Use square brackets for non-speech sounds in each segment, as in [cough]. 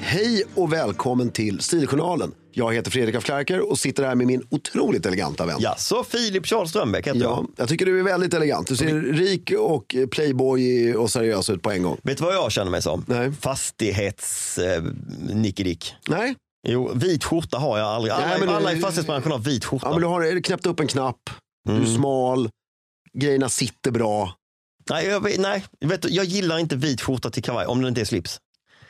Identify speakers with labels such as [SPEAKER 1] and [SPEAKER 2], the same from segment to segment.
[SPEAKER 1] Hej och välkommen till Stiljournalen. Jag heter Fredrik af Klerker och sitter här med min otroligt eleganta vän.
[SPEAKER 2] Ja, så Filip Charles Strömbäck heter jag.
[SPEAKER 1] Ja, jag tycker du är väldigt elegant. Du ser rik och playboy och seriös ut på en gång.
[SPEAKER 2] Vet du vad jag känner mig som?
[SPEAKER 1] Nej.
[SPEAKER 2] Fastighets eh, nickedick.
[SPEAKER 1] Nej,
[SPEAKER 2] Jo, vit skjorta har jag aldrig. Alla,
[SPEAKER 1] Nej, men du-
[SPEAKER 2] alla i fastighetsbranschen har vit skjorta.
[SPEAKER 1] ja, men du har knäppt upp en knapp, du
[SPEAKER 2] Mm.
[SPEAKER 1] är smal, grejerna sitter bra.
[SPEAKER 2] Nej, jag, vet- nej vet du, jag gillar inte vit skjorta till kavaj om det inte är slips.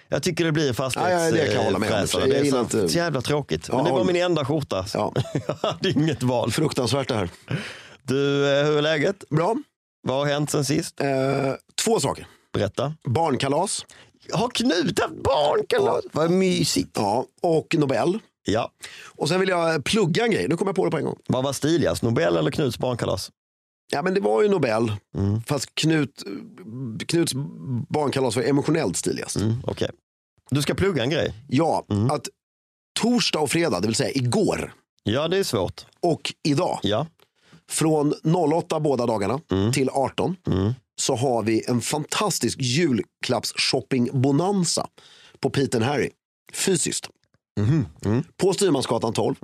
[SPEAKER 2] Jag tycker det blir
[SPEAKER 1] Ja, ja, det kan jag hålla med om.
[SPEAKER 2] fastighetsfräsare.
[SPEAKER 1] Jag
[SPEAKER 2] Det är
[SPEAKER 1] gillar
[SPEAKER 2] så,
[SPEAKER 1] inte-
[SPEAKER 2] så jävla tråkigt.
[SPEAKER 1] Ja,
[SPEAKER 2] Men det var
[SPEAKER 1] håll-
[SPEAKER 2] min enda skjorta. så
[SPEAKER 1] Ja,
[SPEAKER 2] [laughs] Jag hade inget val.
[SPEAKER 1] fruktansvärt det här.
[SPEAKER 2] Du, eh, hur är läget?
[SPEAKER 1] Bra.
[SPEAKER 2] Vad har hänt sen sist?
[SPEAKER 1] Eh, två saker.
[SPEAKER 2] Berätta.
[SPEAKER 1] Barnkalas.
[SPEAKER 2] Har Knut haft barnkalas? Vad mysigt.
[SPEAKER 1] Ja, och Nobel.
[SPEAKER 2] Ja.
[SPEAKER 1] Och sen vill jag plugga en grej. Nu kommer jag på det på en gång.
[SPEAKER 2] Vad var stiligast? Nobel eller Knuts barnkalas?
[SPEAKER 1] Ja, men det var ju Nobel.
[SPEAKER 2] Mm.
[SPEAKER 1] Fast Knut, Knuts barnkalas var emotionellt stiligast.
[SPEAKER 2] Mm, Okej. Du ska plugga en grej.
[SPEAKER 1] Ja,
[SPEAKER 2] Mm.
[SPEAKER 1] att torsdag och fredag, det vill säga igår
[SPEAKER 2] Ja, det är svårt.
[SPEAKER 1] och idag,
[SPEAKER 2] Ja.
[SPEAKER 1] från 08 båda dagarna till 18,
[SPEAKER 2] Mm.
[SPEAKER 1] så har vi en fantastisk julklappsshopping-bonanza på Pete and Harry, fysiskt.
[SPEAKER 2] Mm-hmm. Mm.
[SPEAKER 1] På Styrmansgatan 12.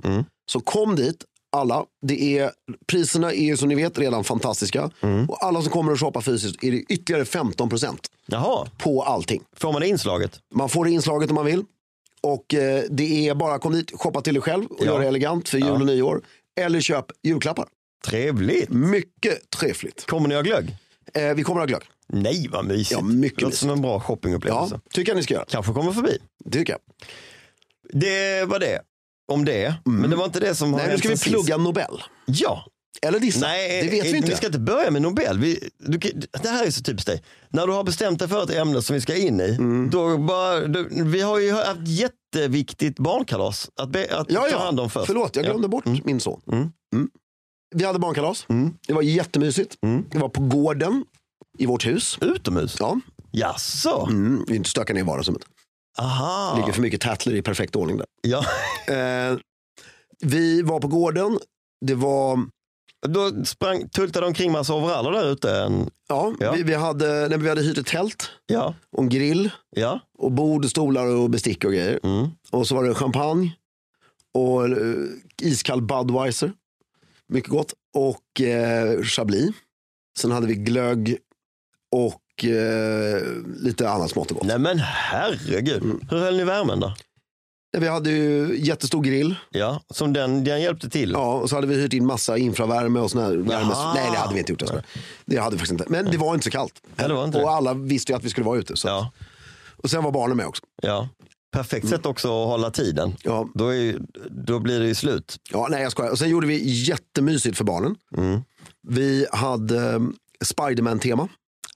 [SPEAKER 1] Så kom dit, alla. Det är, priserna är ju som ni vet redan fantastiska.
[SPEAKER 2] Mm.
[SPEAKER 1] Och alla som kommer och shoppar fysiskt är det ytterligare 15%
[SPEAKER 2] Jaha,
[SPEAKER 1] på allting.
[SPEAKER 2] får man det inslaget?
[SPEAKER 1] Man får det inslaget om man vill. Och eh, det är bara kom dit, shoppa till dig själv och
[SPEAKER 2] Ja.
[SPEAKER 1] gör det elegant för jul och nyår. Eller köp julklappar.
[SPEAKER 2] Trevligt.
[SPEAKER 1] Mycket trevligt.
[SPEAKER 2] Kommer ni ha glögg?
[SPEAKER 1] Eh, vi kommer att ha glögg.
[SPEAKER 2] Nej, vad mysigt.
[SPEAKER 1] Ja, mycket
[SPEAKER 2] Låter som en bra
[SPEAKER 1] Ja,
[SPEAKER 2] shoppingupplevelse.
[SPEAKER 1] tycker jag ni ska göra.
[SPEAKER 2] Kanske kommer förbi.
[SPEAKER 1] Det tycker jag.
[SPEAKER 2] Det var det. Om det. Men det var inte det som har
[SPEAKER 1] Mm. Nej, nu
[SPEAKER 2] hänt
[SPEAKER 1] ska vi
[SPEAKER 2] sen
[SPEAKER 1] plugga Nobel.
[SPEAKER 2] Sist. Ja.
[SPEAKER 1] Eller dissa.
[SPEAKER 2] Nej, eh,
[SPEAKER 1] det vet vi
[SPEAKER 2] vi
[SPEAKER 1] inte.
[SPEAKER 2] ska inte börja med Nobel. Vi, du, kan- det här är så typiskt dig. När du har bestämt dig för ett ämne som vi ska in i.
[SPEAKER 1] Mm.
[SPEAKER 2] Då bara, du, vi har ju haft jätteviktigt barnkalas att, be, att
[SPEAKER 1] Ja,
[SPEAKER 2] ta hand
[SPEAKER 1] ja.
[SPEAKER 2] om först.
[SPEAKER 1] Förlåt, jag glömde bort min son.
[SPEAKER 2] Mm.
[SPEAKER 1] Mm. Vi hade barnkalas. Det var jättemysigt.
[SPEAKER 2] Mm.
[SPEAKER 1] Det var på gården i vårt hus.
[SPEAKER 2] Utomhus?
[SPEAKER 1] Ja.
[SPEAKER 2] Jaså?
[SPEAKER 1] Mm. Vi inte stöka ner vardagsrummet.
[SPEAKER 2] Aha.
[SPEAKER 1] Det ligger för mycket tattler i perfekt ordning där.
[SPEAKER 2] Ja.
[SPEAKER 1] Eh, vi var på gården. Det var,
[SPEAKER 2] Då sprang, tultade de omkring massa overaller där ute. En,
[SPEAKER 1] ja,
[SPEAKER 2] Ja.
[SPEAKER 1] Vi, vi, hade, nej, men vi hade hyrt ett tält
[SPEAKER 2] ja,
[SPEAKER 1] och en grill
[SPEAKER 2] ja.
[SPEAKER 1] och bord, stolar och bestick och grejer.
[SPEAKER 2] Mm.
[SPEAKER 1] Och så var det champagne och eh, iskall Budweiser. Mycket gott. Och eh, chablis. Sen hade vi glögg och och eh, lite annat smått och gott.
[SPEAKER 2] Nej men herregud.
[SPEAKER 1] Mm.
[SPEAKER 2] Hur höll ni värmen då?
[SPEAKER 1] Vi hade ju jättestor grill.
[SPEAKER 2] Ja, som den, den hjälpte till.
[SPEAKER 1] Ja, och så hade vi hyrt in massa infravärme och sån här värme.
[SPEAKER 2] Jaha.
[SPEAKER 1] Nej, det hade vi inte gjort. Alltså. Det hade vi faktiskt inte. Men det var inte så kallt.
[SPEAKER 2] Nej, det var inte
[SPEAKER 1] och
[SPEAKER 2] det.
[SPEAKER 1] alla visste ju att vi skulle vara ute. Så.
[SPEAKER 2] Ja,
[SPEAKER 1] Och sen var barnen med också.
[SPEAKER 2] ja. Perfekt sätt
[SPEAKER 1] Mm.
[SPEAKER 2] också att hålla tiden.
[SPEAKER 1] Ja.
[SPEAKER 2] Då, är, ju- då blir det ju slut.
[SPEAKER 1] Ja, nej jag skojar. Och sen gjorde vi jättemysigt för barnen.
[SPEAKER 2] Mm.
[SPEAKER 1] Vi hade eh, Spiderman-tema.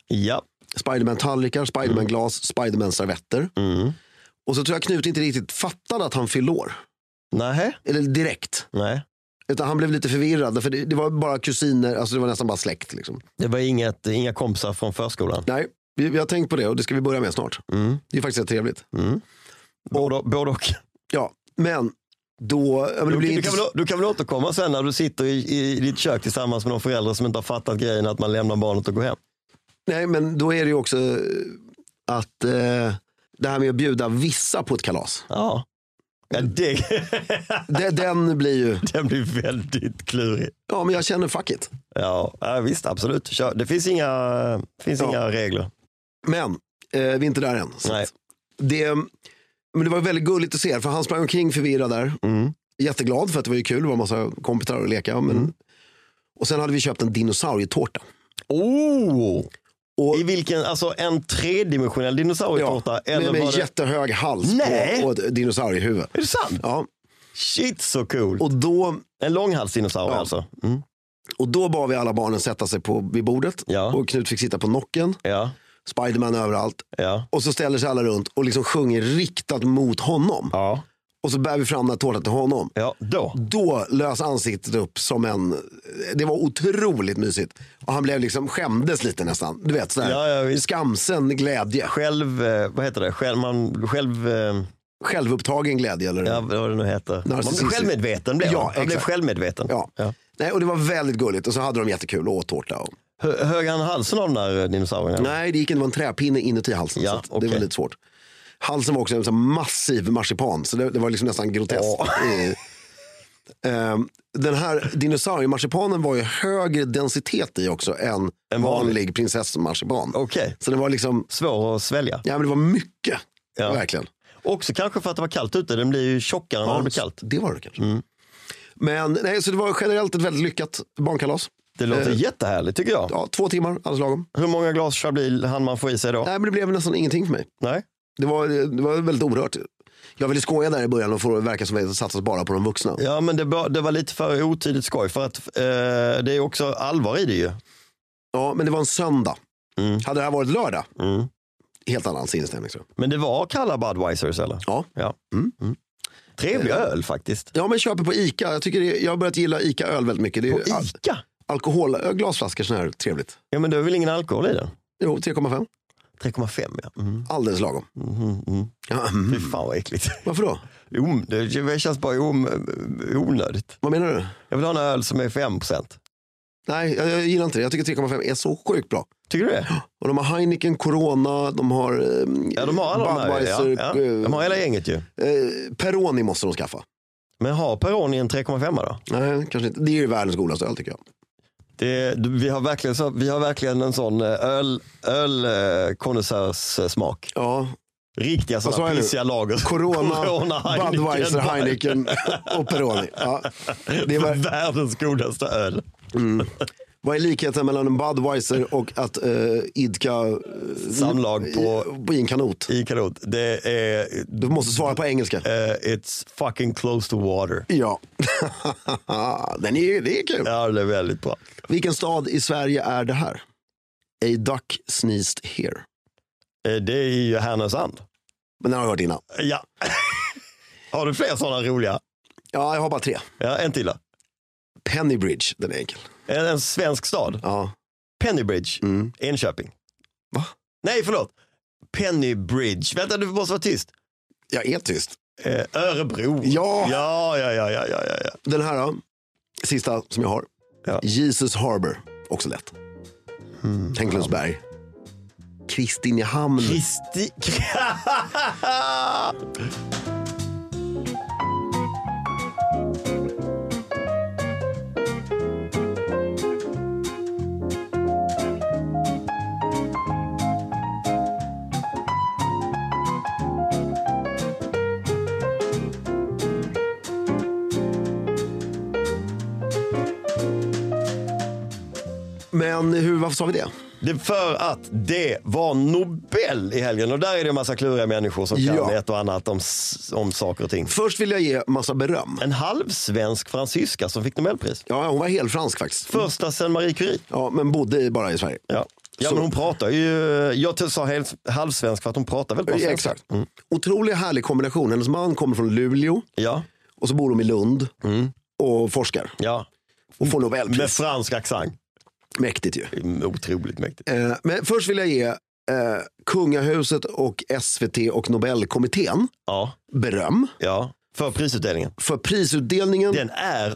[SPEAKER 2] Ja,
[SPEAKER 1] Spiderman-tallrikar, Spiderman-glas, Spiderman-servetter.
[SPEAKER 2] mm.
[SPEAKER 1] Och så tror jag Knut inte riktigt fattade att han fyllde år.
[SPEAKER 2] nej,
[SPEAKER 1] Eller direkt.
[SPEAKER 2] nej.
[SPEAKER 1] Utan han blev lite förvirrad. För det, det var bara kusiner, alltså det var nästan bara släkt. Liksom.
[SPEAKER 2] Det var inget, inga kompisar från förskolan.
[SPEAKER 1] Nej, vi, vi har tänkt på det och det ska vi börja med snart.
[SPEAKER 2] Mm.
[SPEAKER 1] Det är faktiskt rätt trevligt.
[SPEAKER 2] Både, både och.
[SPEAKER 1] Ja, men då... Ja, men det
[SPEAKER 2] Du,
[SPEAKER 1] blir
[SPEAKER 2] du,
[SPEAKER 1] inte...
[SPEAKER 2] kan väl, du kan väl återkomma sen när du sitter i, i ditt kök tillsammans med de föräldrar som inte har fattat grejen att man lämnar barnet och går hem.
[SPEAKER 1] Nej, men då är det ju också eh, att eh, det här med att bjuda vissa på ett kalas.
[SPEAKER 2] Ja, ja det,
[SPEAKER 1] Det, den blir ju...
[SPEAKER 2] den blir väldigt klurig.
[SPEAKER 1] Ja, men jag känner fuck it.
[SPEAKER 2] Ja, ja, visst, absolut. Kör. Det finns inga, finns
[SPEAKER 1] Ja.
[SPEAKER 2] inga regler.
[SPEAKER 1] Men eh, vi är inte där än. Så
[SPEAKER 2] Nej.
[SPEAKER 1] att Det, men det var väldigt gulligt att se er, för han sprang omkring förvirrad där.
[SPEAKER 2] Mm.
[SPEAKER 1] Jätteglad för att det var ju kul, det var massa kompisar att leka. Men... Och sen hade vi köpt en dinosaurietårta.
[SPEAKER 2] Oh!
[SPEAKER 1] Och-
[SPEAKER 2] I vilken, alltså en tredimensionell dinosaurietårta? eller
[SPEAKER 1] med med
[SPEAKER 2] var det...
[SPEAKER 1] jättehög hals
[SPEAKER 2] Nej.
[SPEAKER 1] på och ett dinosauriehuvud.
[SPEAKER 2] Är det sant?
[SPEAKER 1] Ja,
[SPEAKER 2] Shit så cool.
[SPEAKER 1] och då
[SPEAKER 2] En långhalsdinosaurie alltså? Mm.
[SPEAKER 1] Och då bad vi alla barnen sätta sig på, vid bordet.
[SPEAKER 2] Ja.
[SPEAKER 1] Och Knut fick sitta på nocken.
[SPEAKER 2] Ja,
[SPEAKER 1] Spiderman överallt.
[SPEAKER 2] ja,
[SPEAKER 1] Och så ställer sig alla runt och liksom sjunger riktat mot honom.
[SPEAKER 2] ja.
[SPEAKER 1] Och så bär vi fram den här tårtan till honom.
[SPEAKER 2] ja. Då.
[SPEAKER 1] Då lös ansiktet upp som en... Det var otroligt mysigt. Och han blev liksom, skämdes lite nästan. Du vet, sådär.
[SPEAKER 2] Ja, ja, visst.
[SPEAKER 1] Skamsen glädje.
[SPEAKER 2] Själv, eh, vad heter det? Själv, man, själv, eh,
[SPEAKER 1] Självupptagen glädje. Eller?
[SPEAKER 2] ja, vad det nu heter. Man blev
[SPEAKER 1] Narcissistisk.
[SPEAKER 2] självmedveten. Blev
[SPEAKER 1] Ja,
[SPEAKER 2] han. han blev
[SPEAKER 1] exakt.
[SPEAKER 2] självmedveten.
[SPEAKER 1] Ja.
[SPEAKER 2] Ja.
[SPEAKER 1] Nej, och det var väldigt gulligt. Och så hade de jättekul och åt tårta. Och...
[SPEAKER 2] Hö- Högg han halsen av den där eh, dinosaurien? eller?
[SPEAKER 1] Nej, det gick inte. Det var en träpinne inuti halsen.
[SPEAKER 2] Ja,
[SPEAKER 1] så att
[SPEAKER 2] okej.
[SPEAKER 1] Det var lite svårt. Halsen var också en sån massiv marsipan, så det, det var liksom nästan groteskt. Eh, ehm, Den här dinosauriemarsipanen var ju högre densitet i också än
[SPEAKER 2] Än vanlig.
[SPEAKER 1] vanlig, prinsessmarsipan.
[SPEAKER 2] Okej,
[SPEAKER 1] Så det var liksom,
[SPEAKER 2] svår att svälja.
[SPEAKER 1] ja men det var mycket.
[SPEAKER 2] Ja.
[SPEAKER 1] Verkligen.
[SPEAKER 2] Också kanske för att det var kallt ute. Den blir ju tjockare när det blir kallt. Mm.
[SPEAKER 1] Det var det kanske. Men nej, så det var generellt ett väldigt lyckat barnkalas.
[SPEAKER 2] Det låter
[SPEAKER 1] Eh.
[SPEAKER 2] jättehärligt tycker jag.
[SPEAKER 1] Ja, två timmar, alldeles lagom.
[SPEAKER 2] Hur många glas Chablis hann man få i sig då?
[SPEAKER 1] Nej, men det blev nästan ingenting för mig.
[SPEAKER 2] Nej.
[SPEAKER 1] Det var, det var väldigt orört. Jag ville skoja där i början och få det att verka som att det satsas bara på de vuxna.
[SPEAKER 2] Ja, men det, var- det var lite för otidigt skoj för att eh, det är också allvar i det ju.
[SPEAKER 1] Ja, men det var en söndag.
[SPEAKER 2] Mm.
[SPEAKER 1] Hade det här varit lördag,
[SPEAKER 2] Mm.
[SPEAKER 1] helt annan inställning. tror jag.
[SPEAKER 2] Men det var kalla Budweisers eller?
[SPEAKER 1] Ja.
[SPEAKER 2] ja. Mm. Trevlig
[SPEAKER 1] Eh.
[SPEAKER 2] öl faktiskt.
[SPEAKER 1] Ja, men köper på Ica. Jag, tycker det, jag har börjat gilla Ica-öl väldigt mycket. Det är
[SPEAKER 2] På
[SPEAKER 1] ju al-
[SPEAKER 2] Ica?
[SPEAKER 1] alkohol, ö, glasflaskor sån här, trevligt.
[SPEAKER 2] Ja, men det är väl ingen alkohol i den?
[SPEAKER 1] Jo, 3,5.
[SPEAKER 2] 3,5 ja. Mm.
[SPEAKER 1] Alldeles lagom.
[SPEAKER 2] Mm. Mm.
[SPEAKER 1] Ja, mm.
[SPEAKER 2] Fy fan vad äckligt. [laughs]
[SPEAKER 1] Varför då?
[SPEAKER 2] Om, det det känns bara om, onödigt.
[SPEAKER 1] Vad menar du?
[SPEAKER 2] Jag vill ha en öl som är 5
[SPEAKER 1] Nej, jag, jag gillar inte det. Jag tycker 3,5 är så sjukt bra.
[SPEAKER 2] Tycker du det?
[SPEAKER 1] Och de har Heineken, Corona, de har eh,
[SPEAKER 2] Ja, de har alla de här. Ja,
[SPEAKER 1] Budweiser.
[SPEAKER 2] ja. De har hela gänget ju.
[SPEAKER 1] eh, eh, Peroni måste de skaffa.
[SPEAKER 2] Men har Peroni en 3,5 då?
[SPEAKER 1] Nej, kanske inte. Det är ju världens godaste öl tycker jag.
[SPEAKER 2] Det, du- vi, har verkligen så, vi har verkligen en sån eh, öl, öl eh, konnässörssmak.
[SPEAKER 1] Ja,
[SPEAKER 2] Riktiga
[SPEAKER 1] Vad sa
[SPEAKER 2] sådana
[SPEAKER 1] jag nu?
[SPEAKER 2] pissiga lager.
[SPEAKER 1] [laughs] Corona,
[SPEAKER 2] Heineken,
[SPEAKER 1] Budweiser, Heineken och Peroni. Ja. Det var, [laughs]
[SPEAKER 2] Världens godaste öl.
[SPEAKER 1] vad är likheten mellan en Budweiser och att uh, idka eh,
[SPEAKER 2] Samlag på,
[SPEAKER 1] i en kanot?
[SPEAKER 2] i kanot. Det är,
[SPEAKER 1] Du måste svara på engelska.
[SPEAKER 2] eh, it's fucking close to water.
[SPEAKER 1] Ja, [laughs] Den är, det är kul.
[SPEAKER 2] Ja, det är väldigt bra.
[SPEAKER 1] Vilken stad i Sverige är det här? A duck sneezed here.
[SPEAKER 2] Eh, det är ju Härnösand.
[SPEAKER 1] Men den har jag hört innan.
[SPEAKER 2] Ja. [laughs] har du fler sådana roliga?
[SPEAKER 1] Ja, jag har bara tre.
[SPEAKER 2] Ja, en till då.
[SPEAKER 1] Pennybridge, den är enkel.
[SPEAKER 2] En, en svensk stad.
[SPEAKER 1] Ja. Mm.
[SPEAKER 2] Pennybridge, Enköping.
[SPEAKER 1] Va?
[SPEAKER 2] Nej, förlåt. Pennybridge. Vänta, du måste vara tyst.
[SPEAKER 1] Jag är tyst.
[SPEAKER 2] Eh, Örebro.
[SPEAKER 1] Ja.
[SPEAKER 2] Ja, ja, ja, ja, ja, ja, ja.
[SPEAKER 1] Den här då, sista som jag har.
[SPEAKER 2] Ja.
[SPEAKER 1] Jesus Harbor, också lätt. Tänklundsberg. Kristinehamn.
[SPEAKER 2] Kristi... [laughs]
[SPEAKER 1] Men hur, varför sa vi det?
[SPEAKER 2] Det är för att det var Nobel i helgen och där är det en massa kluriga människor som
[SPEAKER 1] Ja.
[SPEAKER 2] kan ett och annat om, s- om saker och ting.
[SPEAKER 1] Först vill jag ge massa beröm.
[SPEAKER 2] En halvsvensk fransyska som fick Nobelpris.
[SPEAKER 1] Ja, hon var helt fransk faktiskt.
[SPEAKER 2] Första sen Marie Curie.
[SPEAKER 1] Ja, men bodde i- bara i Sverige.
[SPEAKER 2] Ja, ja
[SPEAKER 1] Så-
[SPEAKER 2] men hon pratar ju, jag t- sa helt halvsvensk för att hon pratar väl bra svenska.
[SPEAKER 1] Exakt. Otroligt härlig kombination. Hennes man kommer från Luleå
[SPEAKER 2] Ja,
[SPEAKER 1] och så bor de i Lund och forskar
[SPEAKER 2] ja.
[SPEAKER 1] och får
[SPEAKER 2] Med
[SPEAKER 1] Nobelpris.
[SPEAKER 2] fransk accent.
[SPEAKER 1] Mäktigt ju.
[SPEAKER 2] Mm, Otroligt mäktigt.
[SPEAKER 1] Eh, Men först vill jag ge eh, kungahuset och SVT och Nobelkommittén
[SPEAKER 2] Ja,
[SPEAKER 1] beröm
[SPEAKER 2] ja. För prisutdelningen.
[SPEAKER 1] för prisutdelningen.
[SPEAKER 2] Den är,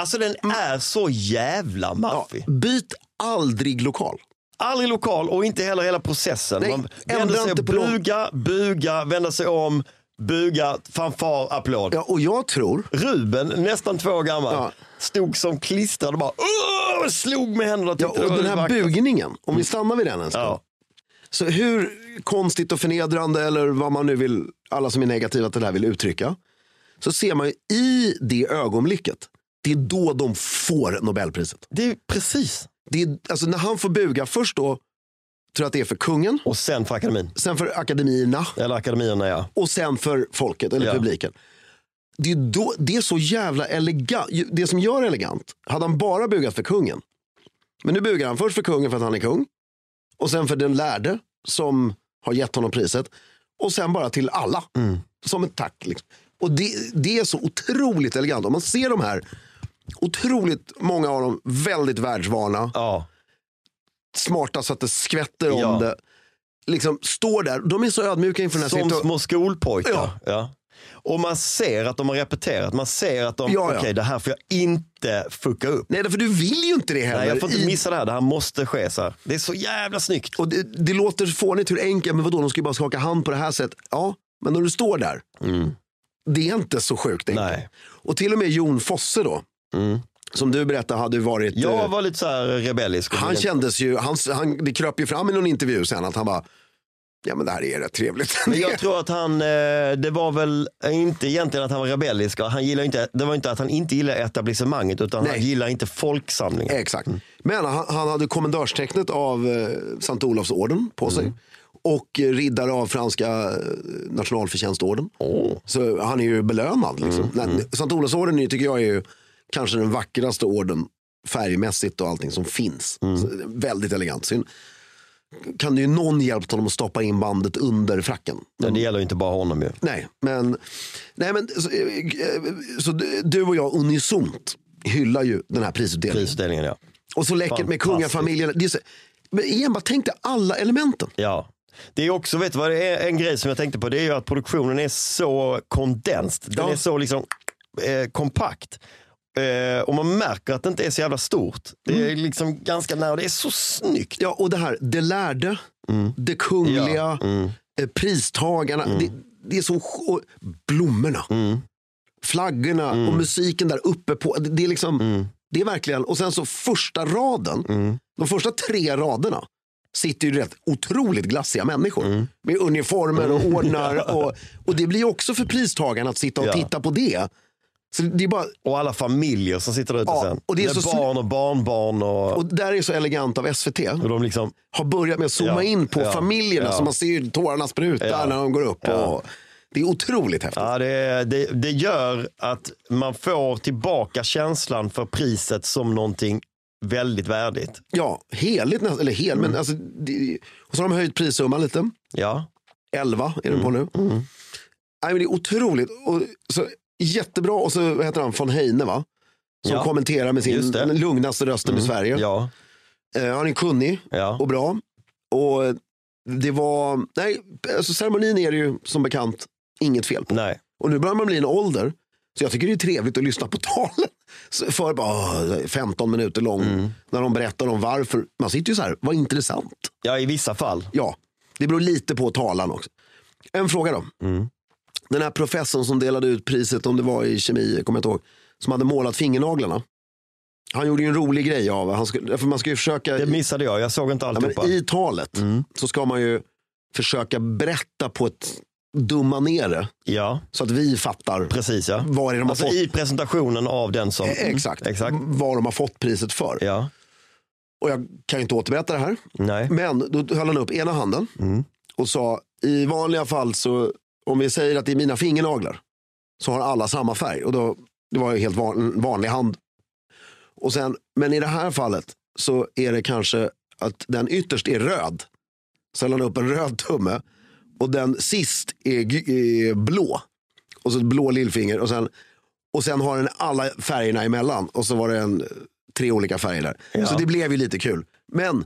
[SPEAKER 2] alltså den är så jävla
[SPEAKER 1] Mm. Ja,
[SPEAKER 2] maffig.
[SPEAKER 1] byt aldrig lokal.
[SPEAKER 2] Aldrig lokal och inte heller hela processen.
[SPEAKER 1] Nej,
[SPEAKER 2] Man
[SPEAKER 1] ändra
[SPEAKER 2] vänder sig,
[SPEAKER 1] inte på någon-
[SPEAKER 2] buga, buga, vända sig om, buga, fanfar, applåd.
[SPEAKER 1] Ja, och jag tror,
[SPEAKER 2] Ruben, nästan två år gammal,
[SPEAKER 1] Ja.
[SPEAKER 2] stod som klistrad och bara "Åh!" slog med händerna.
[SPEAKER 1] ja,
[SPEAKER 2] Tyckte det
[SPEAKER 1] och
[SPEAKER 2] var
[SPEAKER 1] den här
[SPEAKER 2] vackert.
[SPEAKER 1] bugningen, om vi stannar vid den en stund.
[SPEAKER 2] Ja.
[SPEAKER 1] Så hur konstigt och förnedrande eller vad man nu vill, alla som är negativa till det här vill uttrycka. Så ser man ju i det ögonblicket, det är då de får Nobelpriset.
[SPEAKER 2] Det är precis.
[SPEAKER 1] Det är, alltså när han får buga, först då tror jag att det är för kungen,
[SPEAKER 2] Och sen för akademin.
[SPEAKER 1] sen för akademierna
[SPEAKER 2] Eller akademierna ja.
[SPEAKER 1] och sen för folket eller
[SPEAKER 2] Ja.
[SPEAKER 1] publiken. Det är, då, det är så jävla elegant. Det som gör det elegant, hade han bara bugat för kungen. Men nu bugar han först för kungen för att han är kung. Och sen för den lärde som har gett honom priset. Och sen bara till alla.
[SPEAKER 2] Mm.
[SPEAKER 1] Som ett tack. Liksom. Och det, det är så otroligt elegant. Om man ser de här, otroligt många av dem väldigt världsvana.
[SPEAKER 2] ja.
[SPEAKER 1] Smarta så att det skvätter om
[SPEAKER 2] Ja.
[SPEAKER 1] det. Liksom står där. De är så ödmjuka inför den här
[SPEAKER 2] Som
[SPEAKER 1] situationen.
[SPEAKER 2] små skolpojkar.
[SPEAKER 1] Ja.
[SPEAKER 2] Ja. Och man ser att de har repeterat. Man ser att de,
[SPEAKER 1] Ja, ja.
[SPEAKER 2] okej det här får jag inte fucka upp.
[SPEAKER 1] Nej, för du vill ju inte det heller.
[SPEAKER 2] Nej, jag får
[SPEAKER 1] I-
[SPEAKER 2] inte missa det här. Det här måste ske. Så här. Det är så jävla snyggt.
[SPEAKER 1] Och det, det låter fånigt hur enkelt, men vadå, de ska ju bara skaka hand på det här sättet. Ja, men när du står där, det är inte så sjukt enkelt.
[SPEAKER 2] Mm. Nej. Mm.
[SPEAKER 1] Och till och med Jon Fosse då, som du berättade hade ju varit...
[SPEAKER 2] Jag
[SPEAKER 1] eh,
[SPEAKER 2] var lite så här rebellisk.
[SPEAKER 1] han kändes ju, han, han, det kröp ju fram i någon intervju sen att han bara, ja men det här är rätt trevligt.
[SPEAKER 2] Men jag tror att han, eh, det var väl inte egentligen att han var rebellisk. Han gillar inte, det var inte att han inte gillar etablissemanget utan
[SPEAKER 1] Nej. Eh,
[SPEAKER 2] han gillar inte folksamlingen.
[SPEAKER 1] Exakt. Men han, han hade kommendörstecknet av eh, Sankt Olofsorden på sig. Och eh, riddare av franska eh, nationalförtjänstorden. Så han är ju belönad. Liksom. Nej, Sankt Olofsorden är ju, tycker jag är ju kanske den vackraste orden färgmässigt och allting som finns. Så, eh, väldigt elegant. Syn. Kan ju någon hjälpt honom att stoppa in bandet under fracken?
[SPEAKER 2] Men det gäller ju inte bara honom ju.
[SPEAKER 1] Nej, men, nej, men så, eh, eh, så du- du och jag unisont hyllar ju den här prisutdelningen.
[SPEAKER 2] Prisutdelningen ja.
[SPEAKER 1] Och så läckert med
[SPEAKER 2] Fantastiskt.
[SPEAKER 1] kungafamiljen. Det är så, men igen, bara tänk dig alla elementen.
[SPEAKER 2] ja. Det är också, vet du vad det är en grej som jag tänkte på? Det är ju att produktionen är så kondensed. Den
[SPEAKER 1] Ja.
[SPEAKER 2] är så liksom eh, kompakt. Eh, och man märker att det inte är så jävla stort. Det är
[SPEAKER 1] Mm.
[SPEAKER 2] liksom ganska nära. Det är så snyggt. Mm.
[SPEAKER 1] Ja, och det här, det lärde, det kungliga,
[SPEAKER 2] Ja, Mm.
[SPEAKER 1] eh, pristagarna. Det, det är som och blommorna,
[SPEAKER 2] Mm.
[SPEAKER 1] flaggorna och musiken där uppe på. Det, det är liksom,
[SPEAKER 2] Mm.
[SPEAKER 1] det är verkligen, och sen så första raden, de första tre raderna sitter ju rätt otroligt glassiga människor.
[SPEAKER 2] Mm.
[SPEAKER 1] Med uniformer
[SPEAKER 2] [laughs]
[SPEAKER 1] och ordnar. Och, och det blir också för pristagarna att sitta och
[SPEAKER 2] Ja.
[SPEAKER 1] titta på det. Så det är bara
[SPEAKER 2] Och alla familjer som sitter där ute
[SPEAKER 1] Ja,
[SPEAKER 2] sen.
[SPEAKER 1] och det är
[SPEAKER 2] Med
[SPEAKER 1] så sn-
[SPEAKER 2] barn och barnbarn. Och,
[SPEAKER 1] Och där är så elegant av SVT.
[SPEAKER 2] och de liksom,
[SPEAKER 1] Har börjat med att zooma
[SPEAKER 2] Ja,
[SPEAKER 1] in på
[SPEAKER 2] ja,
[SPEAKER 1] familjerna
[SPEAKER 2] ja.
[SPEAKER 1] så man ser ju tårarna spruta
[SPEAKER 2] Ja,
[SPEAKER 1] när de går upp. Och det är otroligt häftigt.
[SPEAKER 2] ja, det, det, det gör att man får tillbaka känslan för priset som någonting väldigt värdigt.
[SPEAKER 1] Ja, heligt nästan. Eller hel,
[SPEAKER 2] Mm.
[SPEAKER 1] men alltså. Det, och så har de höjt prissumman lite.
[SPEAKER 2] Ja,
[SPEAKER 1] 11 är den på
[SPEAKER 2] Mm,
[SPEAKER 1] nu. Nej, men det är otroligt. Och, så, jättebra. Och så vad heter han von Heine va? Som
[SPEAKER 2] Ja.
[SPEAKER 1] kommenterar med sin
[SPEAKER 2] Just det. Mm,
[SPEAKER 1] den lugnaste rösten i Sverige.
[SPEAKER 2] ja,
[SPEAKER 1] Eh, han är kunnig
[SPEAKER 2] ja.
[SPEAKER 1] och bra. Och det var, nej, alltså ceremonin är det ju som bekant inget fel på.
[SPEAKER 2] Nej.
[SPEAKER 1] Och nu börjar man bli en ålder. Så jag tycker det är trevligt att lyssna på [laughs] talen. Så För bara åh, 15 minuter lång.
[SPEAKER 2] Mm.
[SPEAKER 1] När de berättar om varför. Man sitter ju så här, vad intressant.
[SPEAKER 2] Ja, i vissa fall.
[SPEAKER 1] Ja, det beror lite på talan också. En fråga då.
[SPEAKER 2] Mm.
[SPEAKER 1] Den här professorn som delade ut priset, om det var i kemi, jag kommer inte ihåg. Som hade målat fingernaglarna. Han gjorde ju en rolig grej av han skulle, för man ska ju försöka.
[SPEAKER 2] Det missade jag. Jag såg inte
[SPEAKER 1] Ja,
[SPEAKER 2] alltihopa. Mm.
[SPEAKER 1] men I talet så ska man ju försöka berätta på ett dumma ner det.
[SPEAKER 2] Ja,
[SPEAKER 1] Så att vi fattar
[SPEAKER 2] precis ja.
[SPEAKER 1] var är de har
[SPEAKER 2] Alltså
[SPEAKER 1] fått
[SPEAKER 2] i presentationen av den som...
[SPEAKER 1] Mm. E- Exakt. Mm.
[SPEAKER 2] Exakt.
[SPEAKER 1] Vad de har fått priset för.
[SPEAKER 2] Ja,
[SPEAKER 1] Och jag kan ju inte återberätta det här.
[SPEAKER 2] Nej.
[SPEAKER 1] Men då höll han upp ena handen och sa, i vanliga fall så, om vi säger att det är mina fingernaglar, så har alla samma färg. Och då, det var ju helt van, en vanlig hand. Och sen, men i det här fallet så är det kanske att den ytterst är röd. Så höll han upp en röd tumme och den sist är, gu- är blå. Och så ett blå lillfinger och sen, och sen har den alla färgerna emellan. Och så var det en, tre olika färger där. Så det blev ju lite kul. Men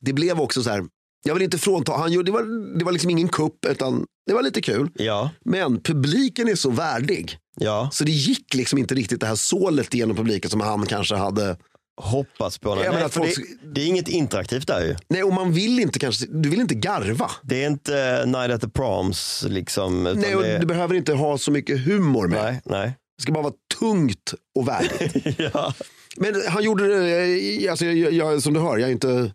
[SPEAKER 1] det blev också så här, jag vill inte frånta, han gjorde, det, var, det var liksom ingen kupp utan det var lite kul.
[SPEAKER 2] Ja,
[SPEAKER 1] Men publiken är så värdig.
[SPEAKER 2] ja.
[SPEAKER 1] Så det gick liksom inte riktigt det här sålet genom publiken som han kanske hade.
[SPEAKER 2] Hoppas på det.
[SPEAKER 1] Jag
[SPEAKER 2] Nej,
[SPEAKER 1] menar,
[SPEAKER 2] för
[SPEAKER 1] folk-
[SPEAKER 2] det, det är inget interaktivt där ju.
[SPEAKER 1] Nej, och man vill inte kanske, du vill inte garva.
[SPEAKER 2] Det är inte eh, Night at the Proms liksom. Utan
[SPEAKER 1] Nej, och
[SPEAKER 2] det,
[SPEAKER 1] du behöver inte ha så mycket humor med.
[SPEAKER 2] nej,
[SPEAKER 1] [laughs]
[SPEAKER 2] nej.
[SPEAKER 1] Det ska bara vara tungt och värdigt.
[SPEAKER 2] [laughs] ja.
[SPEAKER 1] Men han gjorde det, eh, alltså, jag, jag, som du hör, jag är inte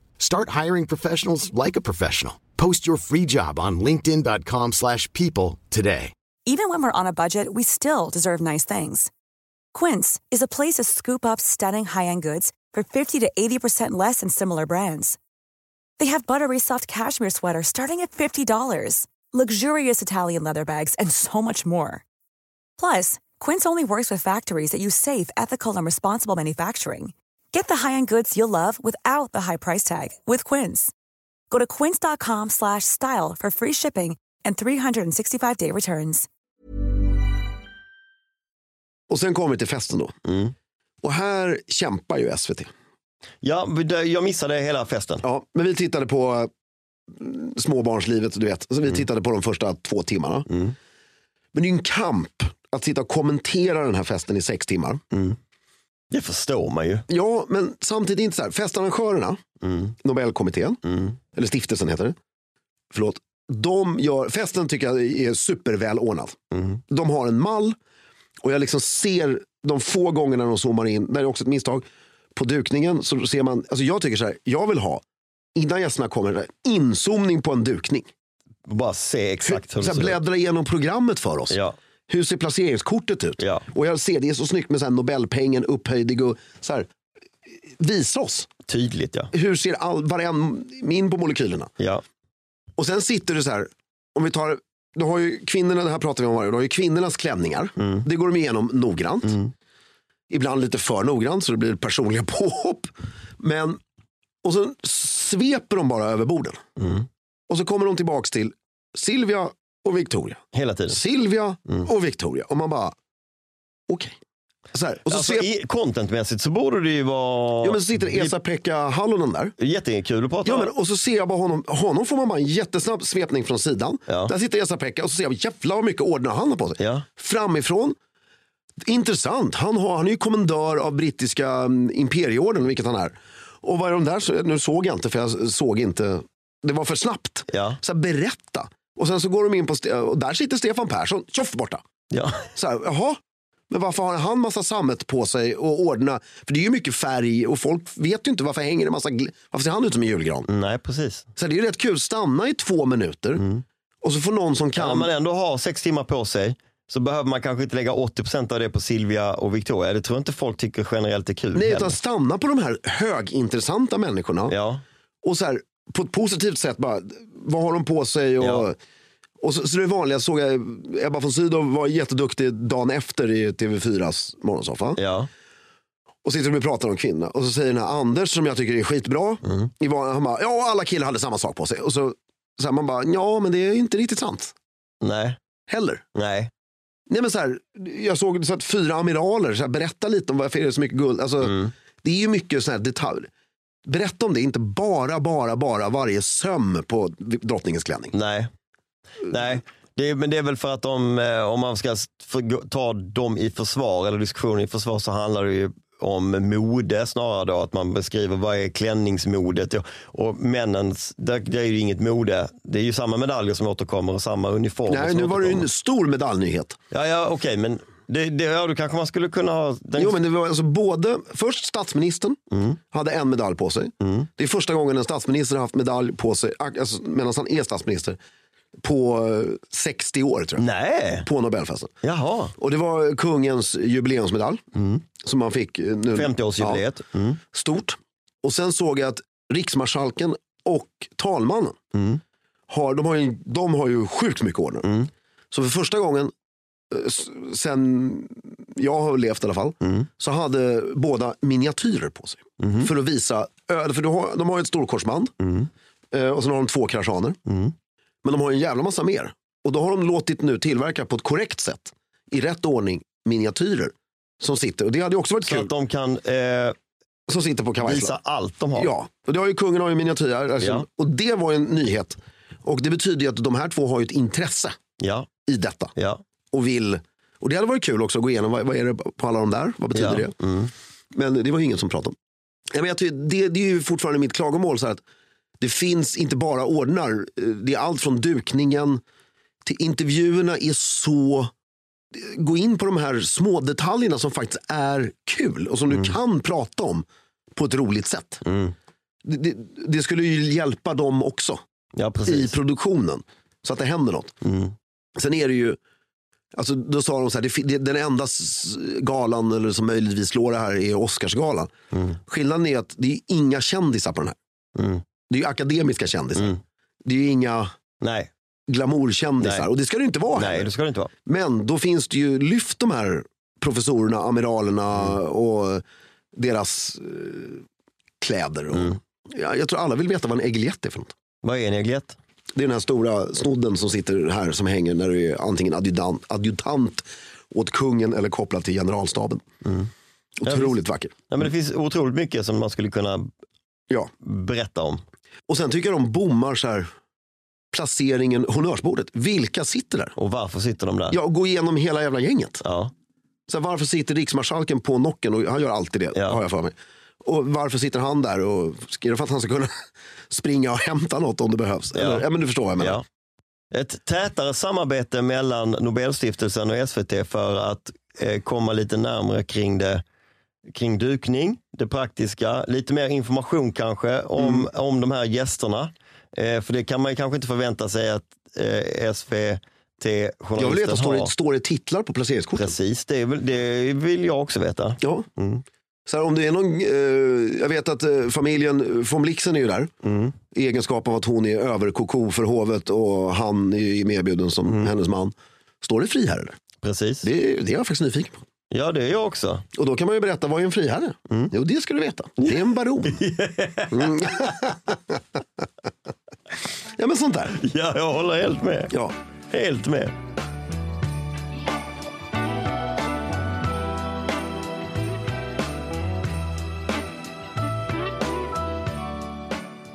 [SPEAKER 3] Start hiring professionals like a professional. Post your free job on linkedin.com/people slash people today.
[SPEAKER 4] Even when we're on a budget, we still deserve nice things. Quince is a place to scoop up stunning high-end goods for 50 to 80% less than similar brands. They have buttery soft cashmere sweaters starting at $50, luxurious Italian leather bags, and so much more. Plus, Quince only works with factories that use safe, ethical, and responsible manufacturing. Get the high-end goods you'll love without the high price tag with Quince. Go to quince.com/style slash style for free shipping and 365-day returns.
[SPEAKER 1] Och sen kommer vi till festen då.
[SPEAKER 2] Mm.
[SPEAKER 1] Och här kämpar ju SVT.
[SPEAKER 2] ja, men det- jag missade hela festen.
[SPEAKER 1] Ja, men vi tittade på mm, småbarnslivet, du vet. Så vi tittade på de första två timmarna. Men det är ju en kamp att sitta och kommentera den här festen i sex timmar.
[SPEAKER 2] Det förstår man ju.
[SPEAKER 1] Ja, men samtidigt inte så här. Festarrangörerna,
[SPEAKER 2] Mm.
[SPEAKER 1] Nobelkommittén,
[SPEAKER 2] Mm.
[SPEAKER 1] eller stiftelsen heter det. Förlåt. De gör, festen tycker jag är supervälordnad.
[SPEAKER 2] Mm.
[SPEAKER 1] De har en mall och jag liksom ser de få gångerna de zoomar in, där är också ett misstag, på dukningen så ser man, alltså jag tycker så här, jag vill ha, innan gästerna kommer, inzoomning på en dukning.
[SPEAKER 2] Bara se exakt hur
[SPEAKER 1] så
[SPEAKER 2] det
[SPEAKER 1] här,
[SPEAKER 2] ser ut.
[SPEAKER 1] bläddra igenom programmet för oss.
[SPEAKER 2] Ja.
[SPEAKER 1] Hur ser placeringskortet ut?
[SPEAKER 2] Ja.
[SPEAKER 1] Och jag ser, det är så snyggt med så här Nobelpengen upphöjd i guld. Så här, visa oss,
[SPEAKER 2] Tydligt ja.
[SPEAKER 1] hur ser all, varje in på molekylerna?
[SPEAKER 2] ja.
[SPEAKER 1] Och sen sitter du så här, om vi tar, du har ju kvinnorna, det här pratar vi om varje du har ju kvinnornas klänningar. Det går de igenom noggrant. Ibland lite för noggrant så det blir personliga [laughs] påhopp. Men, och så sveper de bara över borden. Och så kommer de tillbaks till Silvia och Victoria.
[SPEAKER 2] Hela tiden.
[SPEAKER 1] Silvia
[SPEAKER 2] Mm.
[SPEAKER 1] och Victoria. Och man bara, okej. Så här, och så
[SPEAKER 2] Alltså,
[SPEAKER 1] svep,
[SPEAKER 2] i, contentmässigt så borde det ju vara...
[SPEAKER 1] ja, men så sitter Esa-Pekka Hallonen där.
[SPEAKER 2] Jättekul att prata
[SPEAKER 1] Ja,
[SPEAKER 2] om.
[SPEAKER 1] men, och så ser jag bara honom, honom får man bara en jättesnabb svepning från sidan.
[SPEAKER 2] Ja.
[SPEAKER 1] Där sitter Esa-Pekka och så ser jag jävlar vad mycket ordnar han har på sig.
[SPEAKER 2] Ja.
[SPEAKER 1] Framifrån, intressant, han, har, han är ju kommendör av brittiska mm, imperieorden, vilket han är. Och vad är de där, så- nu såg jag inte för jag såg inte, det var för snabbt.
[SPEAKER 2] Ja.
[SPEAKER 1] Så här, berätta. Och sen så går de in på, Ste- och där sitter Stefan Persson, tjoff borta. [laughs]
[SPEAKER 2] Ja.
[SPEAKER 1] Så här, jaha, men varför har han massa sammet på sig och ordna? För det är ju mycket färg och folk vet ju inte varför hänger det massa, gl- varför ser han ut som en julgran?
[SPEAKER 2] Nej, precis.
[SPEAKER 1] Så det är rätt kul, stanna i två minuter
[SPEAKER 2] Mm.
[SPEAKER 1] och så får någon som
[SPEAKER 2] Kan
[SPEAKER 1] kan.
[SPEAKER 2] man ändå ha sex timmar på sig så behöver man kanske inte lägga 80% av det på Silvia och Victoria. Det tror jag inte folk tycker generellt är kul.
[SPEAKER 1] Nej,
[SPEAKER 2] heller.
[SPEAKER 1] utan stanna på de här högintressanta människorna
[SPEAKER 2] Ja,
[SPEAKER 1] och så här, på ett positivt sätt bara, vad har de på sig? Och,
[SPEAKER 2] Ja.
[SPEAKER 1] och så, så det vanliga såg jag, Ebba von Sydow var jätteduktig dagen efter i TV4s morgonsoffa.
[SPEAKER 2] ja,
[SPEAKER 1] Och sitter de och pratar om kvinna och så säger den här Anders som jag tycker är skitbra,
[SPEAKER 2] Mm.
[SPEAKER 1] i van, han bara, ja alla killar hade samma sak på sig. Och så, så här, man bara, ja men det är ju inte riktigt sant
[SPEAKER 2] nej,
[SPEAKER 1] heller.
[SPEAKER 2] nej.
[SPEAKER 1] Nej, men så här, jag såg så att fyra amiraler, så här, berätta lite om varför är det är så mycket guld. Alltså,
[SPEAKER 2] Mm.
[SPEAKER 1] Det är ju mycket sådana här detaljer. Berätta om det, inte bara, bara, bara varje söm på drottningens klänning.
[SPEAKER 2] Nej. Nej. Det är, men det är väl för att de, eh, om man ska s- för, gå- ta dem i försvar eller diskussionen i försvar så handlar det ju om mode snarare då, att man beskriver vad är klänningsmodet. Och, och männens, där, där är ju inget mode. Det är ju samma medaljer som återkommer och samma uniformer
[SPEAKER 1] Nej,
[SPEAKER 2] som
[SPEAKER 1] nu var det ju
[SPEAKER 2] återkommer.
[SPEAKER 1] en stor medaljnyhet.
[SPEAKER 2] Ja, ja okej, men det, det, ja, då kanske man skulle kunna ha... Den,
[SPEAKER 1] Jo, men det var alltså både, först statsministern hade en medalj på sig. Det är första gången en statsminister har haft medalj på sig, ak- alltså, medan han är statsminister, på eh, 60 år tror jag.
[SPEAKER 2] Nej,
[SPEAKER 1] På Nobelfesten.
[SPEAKER 2] jaha.
[SPEAKER 1] Och det var kungens jubileumsmedalj. Som man fick. eh, Nu,
[SPEAKER 2] 50-årsjubileet.
[SPEAKER 1] Ja, Stort. Och sen såg jag att riksmarskalken och talmannen. Har, de, har ju, de har ju sjukt mycket ordnar. Så för första gången eh, s- sen jag har levt i alla fall. Så hade båda miniatyrer på sig. För att visa. ö, För de har, de har ju ett storkorsband. eh, Och sen har de två kraschaner. Men de har ju en jävla massa mer. Och då har de låtit nu tillverka på ett korrekt sätt, i rätt ordning, miniatyrer. Som sitter, och det hade ju också varit
[SPEAKER 2] Så
[SPEAKER 1] kul,
[SPEAKER 2] att de kan eh,
[SPEAKER 1] som sitter på
[SPEAKER 2] visa
[SPEAKER 1] kavajslan.
[SPEAKER 2] allt de har.
[SPEAKER 1] Ja, och det har ju kungen har ju miniatyrer. Alltså,
[SPEAKER 2] Ja.
[SPEAKER 1] Och det var ju en nyhet. Och det betyder ju att de här två har ju ett intresse
[SPEAKER 2] ja,
[SPEAKER 1] i detta.
[SPEAKER 2] ja.
[SPEAKER 1] Och vill, och det hade varit kul också att gå igenom, vad, vad är det på alla de där? Vad betyder
[SPEAKER 2] ja.
[SPEAKER 1] det?
[SPEAKER 2] Mm.
[SPEAKER 1] Men det var ju ingen som pratade om. Ja, men jag tycker, det, det är ju fortfarande mitt klagomål. Så här att det finns inte bara ordnar. eh, Det är allt från dukningen till intervjuerna är så... Gå in på de här små detaljerna som faktiskt är kul och
[SPEAKER 2] Mm.
[SPEAKER 1] som du kan prata om på ett roligt sätt. Det, det, det skulle ju hjälpa dem också
[SPEAKER 2] Ja,
[SPEAKER 1] i
[SPEAKER 2] precis. Mm.
[SPEAKER 1] produktionen. Så att det händer något. Sen är det ju, alltså då sa de så här, det, fi- det, den enda s- galan eller som möjligtvis slår det här är Oscarsgalan. Skillnaden är att det är inga kändisar på den här.
[SPEAKER 2] Mm.
[SPEAKER 1] Det är ju akademiska kändisar.
[SPEAKER 2] Mm.
[SPEAKER 1] Det är ju inga
[SPEAKER 2] Nej,
[SPEAKER 1] glamourkändisar
[SPEAKER 2] Nej.
[SPEAKER 1] och det ska det ju inte vara
[SPEAKER 2] nej,
[SPEAKER 1] heller.
[SPEAKER 2] det ska det inte vara.
[SPEAKER 1] Men då finns det ju, lyft de här professorerna, amiralerna
[SPEAKER 2] Mm.
[SPEAKER 1] och deras eh, kläder. Och,
[SPEAKER 2] Mm.
[SPEAKER 1] ja, jag tror alla vill veta vad en äggeljett är för något.
[SPEAKER 2] Vad är en eglett?
[SPEAKER 1] Det är den här stora snodden som sitter här som hänger när du är antingen adjutant, adjutant åt kungen eller kopplad till generalstaben.
[SPEAKER 2] Mm.
[SPEAKER 1] Otroligt vacker.
[SPEAKER 2] Ja, men det finns otroligt mycket som man skulle kunna
[SPEAKER 1] Ja.
[SPEAKER 2] berätta om.
[SPEAKER 1] Och sen tycker jag de bommar så här placeringen, honnörsbordet. Vilka sitter där?
[SPEAKER 2] Och varför sitter de där?
[SPEAKER 1] Ja, gå igenom hela jävla gänget.
[SPEAKER 2] Ja,
[SPEAKER 1] Så här, varför sitter riksmarskalken på nocken? Och han gör alltid det,
[SPEAKER 2] Ja.
[SPEAKER 1] har jag för mig. Och varför sitter han där? Och, är det för att han ska kunna [laughs] springa och hämta något om det behövs?
[SPEAKER 2] Ja.
[SPEAKER 1] Eller, ja men du förstår vad jag menar.
[SPEAKER 2] ja. Ett tätare samarbete mellan Nobelstiftelsen och SVT för att eh, komma lite närmare kring det kring dukning, det praktiska, lite mer information kanske om,
[SPEAKER 1] Mm.
[SPEAKER 2] om de här gästerna. Eh, för det kan man ju kanske inte förvänta sig att eh,
[SPEAKER 1] Jag vill veta,
[SPEAKER 2] SVT-journalisten
[SPEAKER 1] står det,
[SPEAKER 2] har.
[SPEAKER 1] står det titlar på placeringskorten?
[SPEAKER 2] Precis, det, är väl, det vill jag också veta.
[SPEAKER 1] Ja. Så här, om det är någon, eh, jag vet att eh, familjen von Blixen är ju där. I egenskap av att hon är överkoko för hovet och han är ju medbjuden som hennes man. Står det friherre där?
[SPEAKER 2] Precis.
[SPEAKER 1] Det, är- det är jag faktiskt nyfiken på.
[SPEAKER 2] Ja, det är jag också.
[SPEAKER 1] Och då kan man ju berätta, vad är en friherre? Jo, det ska du veta. Det är en baron. Mm. ja, men sånt där.
[SPEAKER 2] [laughs] Ja, jag håller helt med.
[SPEAKER 1] Ja.
[SPEAKER 2] Helt med.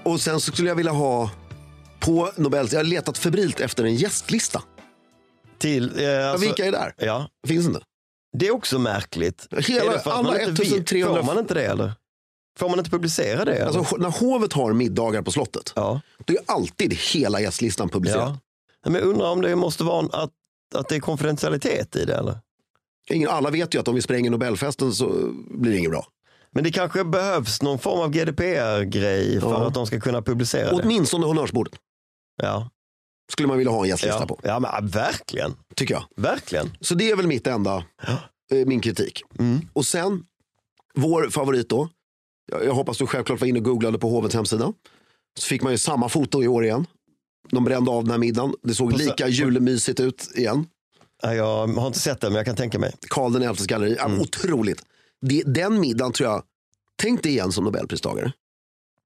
[SPEAKER 1] Och sen så skulle jag vilja ha på Nobels, jag har letat febrilt efter en gästlista.
[SPEAKER 2] Till, eh, alltså,
[SPEAKER 1] Vilka är där?
[SPEAKER 2] Ja,
[SPEAKER 1] Finns inte?
[SPEAKER 2] det är också märkligt.
[SPEAKER 1] Hela-
[SPEAKER 2] är det för att
[SPEAKER 1] alla
[SPEAKER 2] man inte vet?
[SPEAKER 1] 1300
[SPEAKER 2] Får man inte det eller? Får man inte publicera det? Eller?
[SPEAKER 1] Alltså, när hovet har middagar på slottet,
[SPEAKER 2] ja.
[SPEAKER 1] då är alltid hela gästlistan publicerad.
[SPEAKER 2] ja. Men jag undrar om det måste vara en, att, att det är konfidentialitet i det eller?
[SPEAKER 1] Ingen, alla vet ju att om vi spränger Nobelfesten så blir det inget bra.
[SPEAKER 2] Men det kanske behövs någon form av GDPR-grej för
[SPEAKER 1] Ja.
[SPEAKER 2] att de ska kunna publicera det.
[SPEAKER 1] Åtminstone honnörsbordet
[SPEAKER 2] Ja.
[SPEAKER 1] skulle man vilja ha en gästlista
[SPEAKER 2] Ja.
[SPEAKER 1] på,
[SPEAKER 2] ja, men ah, verkligen.
[SPEAKER 1] tycker jag.
[SPEAKER 2] Verkligen.
[SPEAKER 1] Så det är väl mitt enda, eh, min kritik. Och sen, vår favorit då. Jag, jag hoppas du självklart var inne och googlade på hovets hemsida. Så fick man ju samma foto i år igen. De brände av den här middagen. Det
[SPEAKER 2] Och
[SPEAKER 1] såg
[SPEAKER 2] så-
[SPEAKER 1] lika julmysigt ut igen.
[SPEAKER 2] Ja, Jag har inte sett det, men jag kan tänka mig.
[SPEAKER 1] Karl den XIs galleri. Ja, Otroligt. Det, den middagen tror jag, tänk dig igen som nobelpristagare.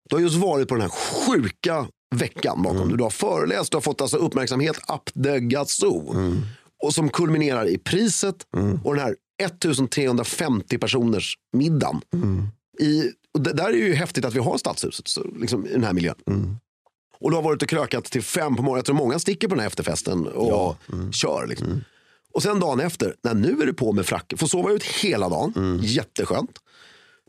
[SPEAKER 1] Du har just varit på den här sjuka veckan bakom dig. Du har föreläst, du har fått alltså uppmärksamhet up the gazoo. Och som kulminerar i priset och den här 1350 personers middagen. I, och det där är ju häftigt att vi har stadshuset så, liksom, i den här miljön. Och du har varit och krökat till fem på morgonen. Jag tror många sticker på den här efterfesten och kör. Liksom.
[SPEAKER 2] Mm.
[SPEAKER 1] Och sen dagen efter, när nu är du på med fracken. Får sova ut hela dagen, jätteskönt.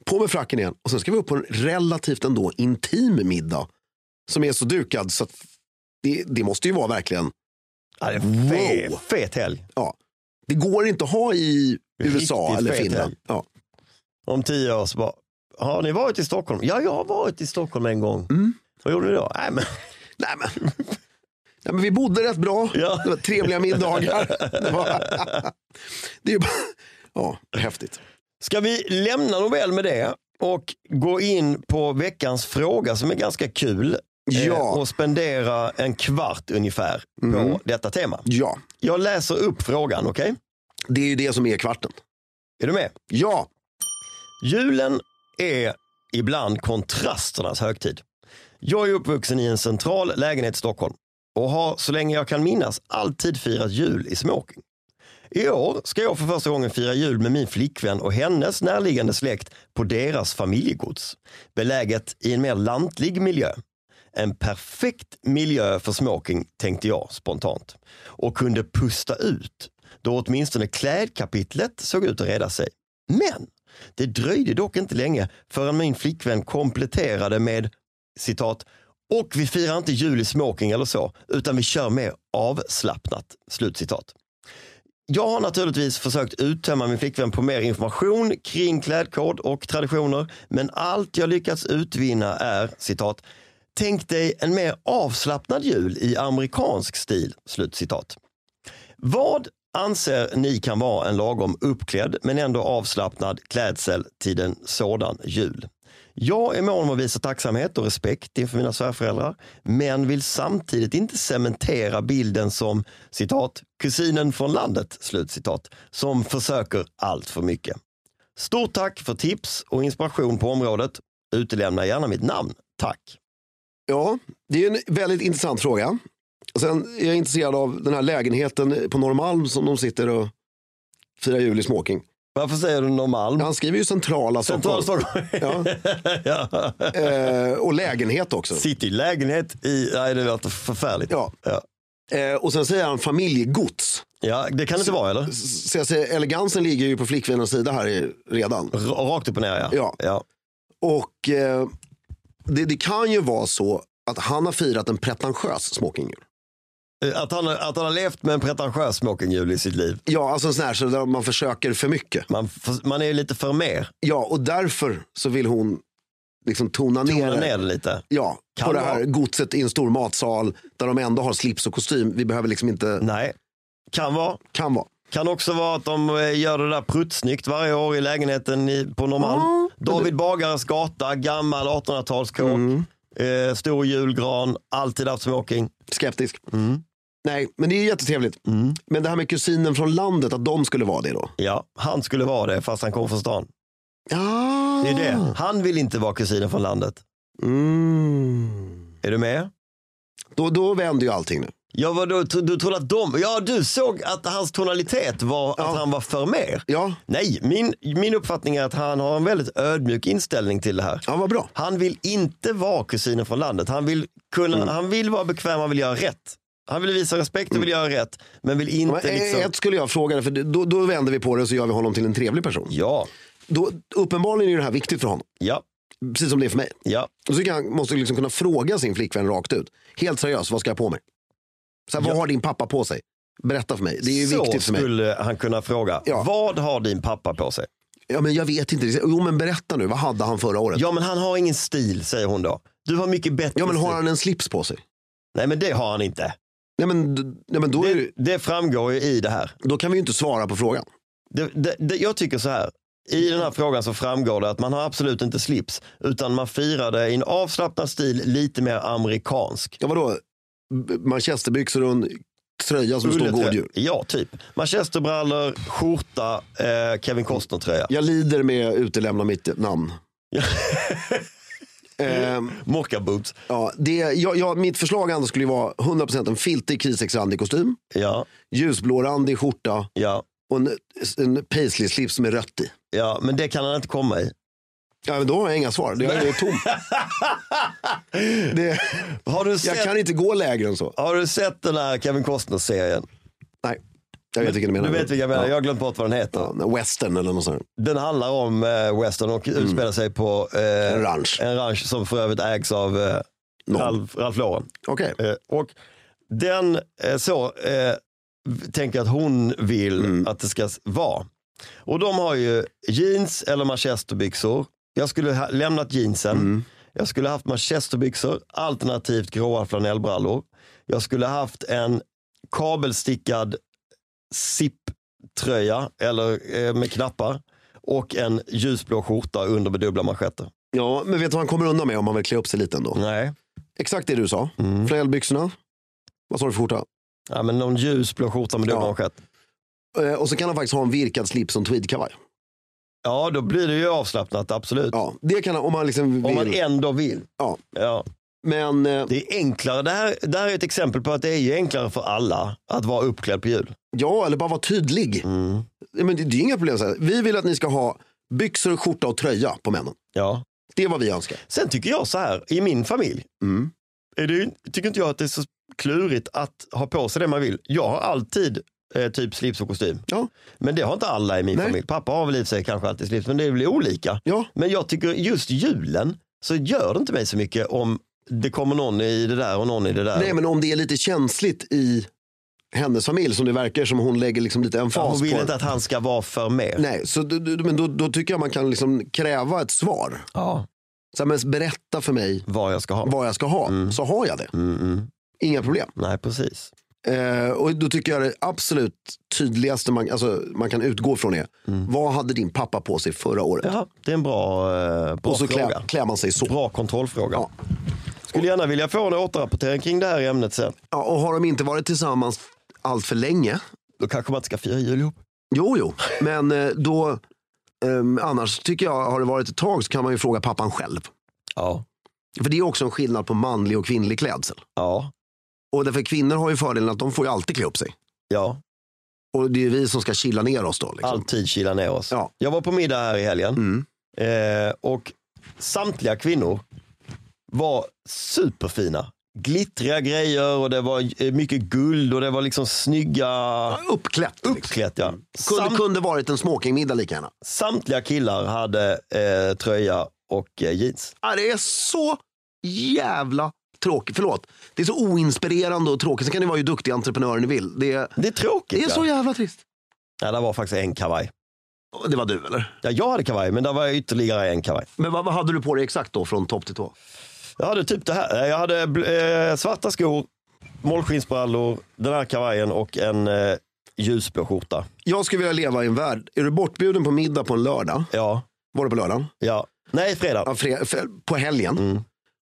[SPEAKER 1] På med fracken igen och sen ska vi upp på en relativt ändå intim middag. Som är så dukad så att det, det måste ju vara verkligen,
[SPEAKER 2] Ja, det är en fet,
[SPEAKER 1] Wow.
[SPEAKER 2] fet helg.
[SPEAKER 1] ja. Det går inte att ha i USA
[SPEAKER 2] Riktigt
[SPEAKER 1] eller
[SPEAKER 2] fet
[SPEAKER 1] Finland.
[SPEAKER 2] helg.
[SPEAKER 1] Ja.
[SPEAKER 2] Om tio år så bara, har ni varit i Stockholm? Ja, jag har varit i Stockholm en gång. Vad gjorde ni då? Nej, men,
[SPEAKER 1] Nej,
[SPEAKER 2] [laughs]
[SPEAKER 1] men. Nej, men vi bodde rätt bra.
[SPEAKER 2] Ja.
[SPEAKER 1] Det var
[SPEAKER 2] [laughs]
[SPEAKER 1] trevliga middagar. Det, var... det är ju bara... Ja, häftigt.
[SPEAKER 2] Ska vi lämna Nobel med det och gå in på veckans fråga som är ganska kul. eh,
[SPEAKER 1] Ja.
[SPEAKER 2] Och spendera en kvart ungefär på detta tema.
[SPEAKER 1] Ja,
[SPEAKER 2] Jag läser upp frågan, okej?
[SPEAKER 1] det är ju det som är kvarten.
[SPEAKER 2] Är du med?
[SPEAKER 1] Ja,
[SPEAKER 2] Julen är ibland kontrasternas högtid. Jag är uppvuxen i en central lägenhet i Stockholm och har så länge jag kan minnas alltid firat jul i smoking. I år ska jag för första gången fira jul med min flickvän och hennes närliggande släkt på deras familjegods, beläget i en mer lantlig miljö. En perfekt miljö för smoking tänkte jag spontant och kunde pusta ut då åtminstone klädkapitlet såg ut att reda sig. Men det dröjde dock inte länge förrän min flickvän kompletterade med citat och vi firar inte jul i smoking eller så utan vi kör mer avslappnat. Slutcitat. Jag har naturligtvis försökt uttömma min flickvän på mer information kring klädkod och traditioner, men allt jag lyckats utvinna är citat. Tänk dig en mer avslappnad jul i amerikansk stil. Slutcitat. Vad anser ni kan vara en lagom uppklädd men ändå avslappnad klädsel till en sådan jul? Jag är mån om att visa tacksamhet och respekt inför mina svärföräldrar men vill samtidigt inte cementera bilden som citat, kusinen från landet slut citat, som försöker allt för mycket. Stort tack för tips och inspiration på området. Utelämna gärna mitt namn. Tack.
[SPEAKER 1] ja det är en väldigt intressant fråga. Och sen är jag intresserad av den här lägenheten på Norrmalm som de sitter och firar jul i smoking.
[SPEAKER 2] Varför säger du Norrmalm?
[SPEAKER 1] Han skriver ju centrala
[SPEAKER 2] Central
[SPEAKER 1] Stockholm.
[SPEAKER 2] Stockholm.
[SPEAKER 1] [laughs] Ja.
[SPEAKER 2] [laughs] ja.
[SPEAKER 1] Eh, och lägenhet också.
[SPEAKER 2] Sitter i lägenhet i... Nej, det låter förfärligt.
[SPEAKER 1] Ja.
[SPEAKER 2] Ja.
[SPEAKER 1] Eh, och sen säger han familjegods.
[SPEAKER 2] Ja, det kan det inte vara, eller?
[SPEAKER 1] S- Så jag säger, elegansen ligger ju på flickvännens sida här i- redan.
[SPEAKER 2] R- Rakt upp och ner, ja.
[SPEAKER 1] Ja. Och eh, det, det kan ju vara så att han har firat en pretentiös smokingjul.
[SPEAKER 2] Eh, Att, han, har- att han har levt med en pretentiös smokingjul i sitt liv.
[SPEAKER 1] Ja, alltså en sån här så där man försöker för mycket.
[SPEAKER 2] Man, f- man är lite för mer.
[SPEAKER 1] Ja, och därför så vill hon liksom tona,
[SPEAKER 2] Tona
[SPEAKER 1] ner det.
[SPEAKER 2] ner det lite.
[SPEAKER 1] Ja,
[SPEAKER 2] Kan
[SPEAKER 1] på det här
[SPEAKER 2] vara.
[SPEAKER 1] godset i en stor matsal där de ändå har slips och kostym. Vi behöver liksom inte,
[SPEAKER 2] Nej. Kan vara.
[SPEAKER 1] kan vara.
[SPEAKER 2] Kan också vara att de eh, gör det där pruttsnyggt varje år i lägenheten i, på Norrmalm. David Bagares gata, gammal 1800-talskåk.
[SPEAKER 1] Mm.
[SPEAKER 2] Eh, stor julgran, alltid haft smoking.
[SPEAKER 1] Skeptisk.
[SPEAKER 2] Mm.
[SPEAKER 1] Nej, men det är ju jättetrevligt. Men det här med kusinen från landet, att de skulle vara det då.
[SPEAKER 2] Ja, han skulle vara det fast han kom från stan.
[SPEAKER 1] Ja.
[SPEAKER 2] Det är
[SPEAKER 1] Ah.
[SPEAKER 2] det. Han vill inte vara kusinen från landet.
[SPEAKER 1] Mm.
[SPEAKER 2] Är du med?
[SPEAKER 1] Då, då vänder ju allting nu.
[SPEAKER 2] Ja, vadå, tro- du trodde att de... Ja, du såg att hans tonalitet var att han var för mer.
[SPEAKER 1] Ja,
[SPEAKER 2] Nej, min, min uppfattning är att han har en väldigt ödmjuk inställning till det här.
[SPEAKER 1] ja vad bra.
[SPEAKER 2] Han vill inte vara kusinen från landet. Han vill, kunna,
[SPEAKER 1] Mm.
[SPEAKER 2] han vill vara bekväm, han vill göra rätt. Han vill visa respekt och vill göra rätt, men vill inte
[SPEAKER 1] Mm. Men, eh,
[SPEAKER 2] liksom...
[SPEAKER 1] Ett skulle jag fråga dig, för då, då vänder vi på det och så gör vi honom till en trevlig person.
[SPEAKER 2] Ja,
[SPEAKER 1] Då, uppenbarligen är det här viktigt för honom,
[SPEAKER 2] ja,
[SPEAKER 1] precis som det är för mig.
[SPEAKER 2] ja.
[SPEAKER 1] Och så tycker jag han måste liksom kunna fråga sin flickvän rakt ut. Helt seriöst, vad ska jag på mig? Så här, Vad har din pappa på sig? Berätta för mig, det är ju
[SPEAKER 2] Så
[SPEAKER 1] viktigt för mig.
[SPEAKER 2] skulle han kunna fråga.
[SPEAKER 1] Ja.
[SPEAKER 2] Vad har din pappa på sig?
[SPEAKER 1] Ja, men jag vet inte, jo men berätta nu, vad hade han förra året? Ja,
[SPEAKER 2] Ja, men han har ingen stil, säger hon då. Du har mycket bättre
[SPEAKER 1] men har
[SPEAKER 2] stil.
[SPEAKER 1] han en slips på sig?
[SPEAKER 2] Nej, men det har han inte.
[SPEAKER 1] Nej men, d- nej, men då, är,
[SPEAKER 2] Det,
[SPEAKER 1] ju-
[SPEAKER 2] det framgår ju i det här.
[SPEAKER 1] då kan vi ju inte svara på frågan.
[SPEAKER 2] Det, det, det, jag tycker så här. I den här frågan så framgår det att man har absolut inte slips utan man firar det i en avslappnad stil, lite mer amerikansk.
[SPEAKER 1] Ja vadå, B- manchesterbyxor och en tröja som står
[SPEAKER 2] Ulleträ-
[SPEAKER 1] god jul.
[SPEAKER 2] Ja, typ. Manchesterbrallor, skjorta, eh, Kevin Costner-tröja.
[SPEAKER 1] Jag lider med att utelämna mitt namn. Ehm,
[SPEAKER 2] Mockaboots.
[SPEAKER 1] ja, det, jag, jag, mitt förslag Anders skulle ju vara 100% en filtig krisex-randig kostym,
[SPEAKER 2] Ja,
[SPEAKER 1] ljusblå randig skjorta
[SPEAKER 2] ja,
[SPEAKER 1] och en, en paisley-slips med rött i.
[SPEAKER 2] ja, men det kan han inte komma i.
[SPEAKER 1] Ja, men då har jag inga svar, det är
[SPEAKER 2] [laughs]
[SPEAKER 1] tom. Det,
[SPEAKER 2] Har du
[SPEAKER 1] jag
[SPEAKER 2] sett,
[SPEAKER 1] kan inte gå lägre än så.
[SPEAKER 2] har du sett den här Kevin Costner-serien?
[SPEAKER 1] Nej. Jag vet vilken du menar.
[SPEAKER 2] Du vet vilka jag menar, jag har glömt bort vad den heter.
[SPEAKER 1] Ja, western eller något sånt.
[SPEAKER 2] Den handlar om eh, western och utspelar sig på eh,
[SPEAKER 1] Mm. En ranch.
[SPEAKER 2] en ranch som för övrigt ägs av eh, Ralf, Ralf Lauren.
[SPEAKER 1] Okej.
[SPEAKER 2] Eh, och den eh, så eh, v- tänker jag att hon vill att det ska s- vara. Och de har ju jeans eller manchesterbyxor. Jag skulle ha lämnat jeansen. Jag skulle haft manchesterbyxor, alternativt gråa flanellbrallor. Jag skulle haft en kabelstickad zipptröja eller eh, med knappar och en ljusblå skjorta under med dubbla manschetter.
[SPEAKER 1] Ja, men vet du vad han kommer undan med om man vill klä upp sig lite ändå?
[SPEAKER 2] Nej,
[SPEAKER 1] Exakt det du sa.
[SPEAKER 2] Mm.
[SPEAKER 1] Flanellbyxorna. Vad sa du för skjorta?
[SPEAKER 2] ja, men någon ljusblå skjorta med dubbla
[SPEAKER 1] Ja.
[SPEAKER 2] manschetter.
[SPEAKER 1] Eh, och så kan han faktiskt ha en virkad slips och en tweedkavaj.
[SPEAKER 2] Ja, då blir det ju avslappnat, absolut.
[SPEAKER 1] Ja, det kan han om han liksom vill.
[SPEAKER 2] Om man ändå vill.
[SPEAKER 1] Ja.
[SPEAKER 2] Ja.
[SPEAKER 1] Men eh,
[SPEAKER 2] Det är enklare. Det här, det här är ett exempel på att det är ju enklare för alla att vara uppklädd på jul.
[SPEAKER 1] ja, eller bara vara tydlig. Ja, Men det, det är inga problem. Så här. Vi vill att ni ska ha byxor, skjorta och tröja på männen.
[SPEAKER 2] Ja.
[SPEAKER 1] Det är vad vi önskar.
[SPEAKER 2] Sen tycker jag så här, i min familj,
[SPEAKER 1] Mm.
[SPEAKER 2] är det, ju- tycker inte jag att det är så klurigt att ha på sig det man vill. Jag har alltid eh, typ slips och kostym.
[SPEAKER 1] Ja,
[SPEAKER 2] Men det har inte alla i min
[SPEAKER 1] Nej.
[SPEAKER 2] familj. Pappa har väl i och för sig kanske alltid slips, men det är väl olika.
[SPEAKER 1] ja.
[SPEAKER 2] Men jag tycker just julen så gör det inte mig så mycket om det kommer någon i det där och någon i det där.
[SPEAKER 1] Nej, men om det är lite känsligt i hennes familj som det verkar som hon lägger liksom lite emfas
[SPEAKER 2] Ja, Hon vill
[SPEAKER 1] på.
[SPEAKER 2] inte att han ska vara för mer.
[SPEAKER 1] Nej, så du, du, men då, då tycker jag man kan liksom kräva ett svar.
[SPEAKER 2] Ja.
[SPEAKER 1] Så här, men berätta för mig
[SPEAKER 2] Vad jag ska ha.
[SPEAKER 1] vad jag ska ha, så har jag det.
[SPEAKER 2] Mm, mm.
[SPEAKER 1] Inga problem.
[SPEAKER 2] Nej, precis.
[SPEAKER 1] Eh, och då tycker jag det absolut tydligaste man, alltså, man kan utgå från är, vad hade din pappa på sig förra året?
[SPEAKER 2] Mm. Ja, det är en bra, eh, bra
[SPEAKER 1] och så
[SPEAKER 2] fråga.
[SPEAKER 1] klär, klär man sig så.
[SPEAKER 2] Bra kontrollfråga.
[SPEAKER 1] Ja.
[SPEAKER 2] Skulle gärna vilja få en återrapportering kring det här ämnet sen.
[SPEAKER 1] Ja, och har de inte varit tillsammans allt för länge,
[SPEAKER 2] Då kanske man inte ska fira jul ihop.
[SPEAKER 1] jo jo, men eh, då, ehm, annars tycker jag, har det varit ett tag så kan man ju fråga pappan själv.
[SPEAKER 2] Ja.
[SPEAKER 1] För det är också en skillnad på manlig och kvinnlig klädsel.
[SPEAKER 2] Ja.
[SPEAKER 1] Och därför kvinnor har ju fördelen att de får ju alltid klä upp sig.
[SPEAKER 2] Ja,
[SPEAKER 1] Och det är ju vi som ska kila ner oss då. Liksom.
[SPEAKER 2] alltid kyla ner oss.
[SPEAKER 1] Ja.
[SPEAKER 2] Jag var på middag här i helgen
[SPEAKER 1] Mm.
[SPEAKER 2] eh, och samtliga kvinnor var superfina. Glittriga grejer och det var eh, mycket guld och det var liksom snygga
[SPEAKER 1] Uppklätt. Liksom.
[SPEAKER 2] uppklätt. Ja.
[SPEAKER 1] Kunde,
[SPEAKER 2] Samt-
[SPEAKER 1] kunde varit en smokingmiddag lika gärna.
[SPEAKER 2] Samtliga killar hade eh, tröja och eh, jeans.
[SPEAKER 1] Ja, det är så jävla tråkigt. Förlåt. Det är så oinspirerande och tråkigt. Sen kan ni vara ju duktiga entreprenörer ni vill. Det är,
[SPEAKER 2] Det är tråkigt.
[SPEAKER 1] det är så
[SPEAKER 2] ja.
[SPEAKER 1] jävla trist.
[SPEAKER 2] Ja, det var faktiskt en kavaj.
[SPEAKER 1] Det var du eller?
[SPEAKER 2] Ja, jag hade kavaj, men det var ytterligare en kavaj.
[SPEAKER 1] Men vad, vad hade du på dig exakt då från topp till tå?
[SPEAKER 2] Jag hade typ det här. Jag hade bl- eh, svarta skor, målskinnsbrallor, den här kavajen och en eh, ljusblå skjorta.
[SPEAKER 1] Jag skulle vilja leva i en värld. Är du bortbjuden på middag på en lördag?
[SPEAKER 2] Ja,
[SPEAKER 1] Var det på lördagen?
[SPEAKER 2] ja. Nej, fredag.
[SPEAKER 1] Ja, fre- f- på helgen.
[SPEAKER 2] Mm.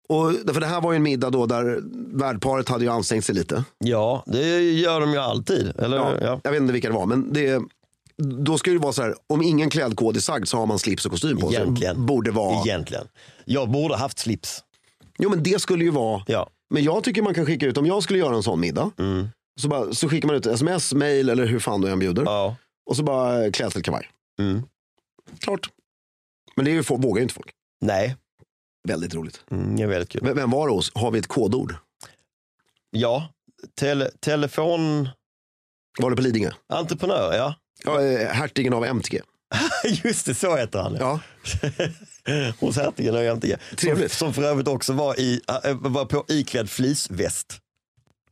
[SPEAKER 1] Och, för det här var ju en middag då där värdparet hade ju ansträngt sig lite.
[SPEAKER 2] Ja, det gör de ju alltid. Eller? Ja. Ja.
[SPEAKER 1] Jag vet inte vilka det var, men det, då ska det vara så här, om ingen klädkod är sagd så har man slips och kostym på sig.
[SPEAKER 2] Egentligen.
[SPEAKER 1] Borde vara.
[SPEAKER 2] Egentligen. Jag borde haft slips.
[SPEAKER 1] Jo men det skulle ju vara,
[SPEAKER 2] Ja. Mm.
[SPEAKER 1] men jag tycker man kan skicka ut, om jag skulle göra en sån middag, så, bara, så skickar man ut sms, mail eller hur fan du än bjuder.
[SPEAKER 2] ja.
[SPEAKER 1] Och så bara eh, klädselkavaj.
[SPEAKER 2] Mm.
[SPEAKER 1] Klart. Men det är ju, få- vågar ju inte folk.
[SPEAKER 2] Nej,
[SPEAKER 1] Väldigt roligt.
[SPEAKER 2] mm, det är väldigt kul.
[SPEAKER 1] V- Vem var det hos? Har vi ett kodord?
[SPEAKER 2] Ja, tele, telefon...
[SPEAKER 1] Var det på Lidingö?
[SPEAKER 2] Entreprenör, ja.
[SPEAKER 1] Ja, eh, hertigen av MTG.
[SPEAKER 2] [laughs] Just det, så heter han.
[SPEAKER 1] Ja.
[SPEAKER 2] Hos hertigen och jämtingen. Som,
[SPEAKER 1] Trevligt.
[SPEAKER 2] som för övrigt också var, i, äh, var på iklädd fleeceväst.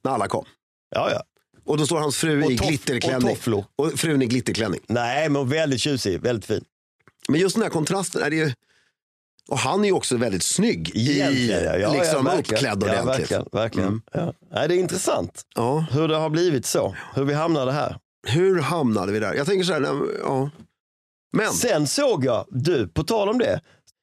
[SPEAKER 1] När alla kom.
[SPEAKER 2] Ja, ja.
[SPEAKER 1] Och då står hans fru
[SPEAKER 2] Och
[SPEAKER 1] i
[SPEAKER 2] toff-
[SPEAKER 1] glitterklänning.
[SPEAKER 2] och tofflor.
[SPEAKER 1] Och frun i glitterklänning.
[SPEAKER 2] Nej, men väldigt tjusig, väldigt fin.
[SPEAKER 1] Men just den här kontrasten. Är det ju... Och han är ju också väldigt snygg. I,
[SPEAKER 2] Egentligen, ja. Ja,
[SPEAKER 1] liksom
[SPEAKER 2] ja, verkligen.
[SPEAKER 1] uppklädd
[SPEAKER 2] Ja,
[SPEAKER 1] ordentligt. Mm.
[SPEAKER 2] verkligen. verkligen. Ja. Nej, det är intressant
[SPEAKER 1] Ja.
[SPEAKER 2] hur det har blivit så. Hur vi hamnade här.
[SPEAKER 1] Hur hamnade vi där? Jag tänker så här, nej, ja. Men,
[SPEAKER 2] Sen såg jag, du, på tal om det.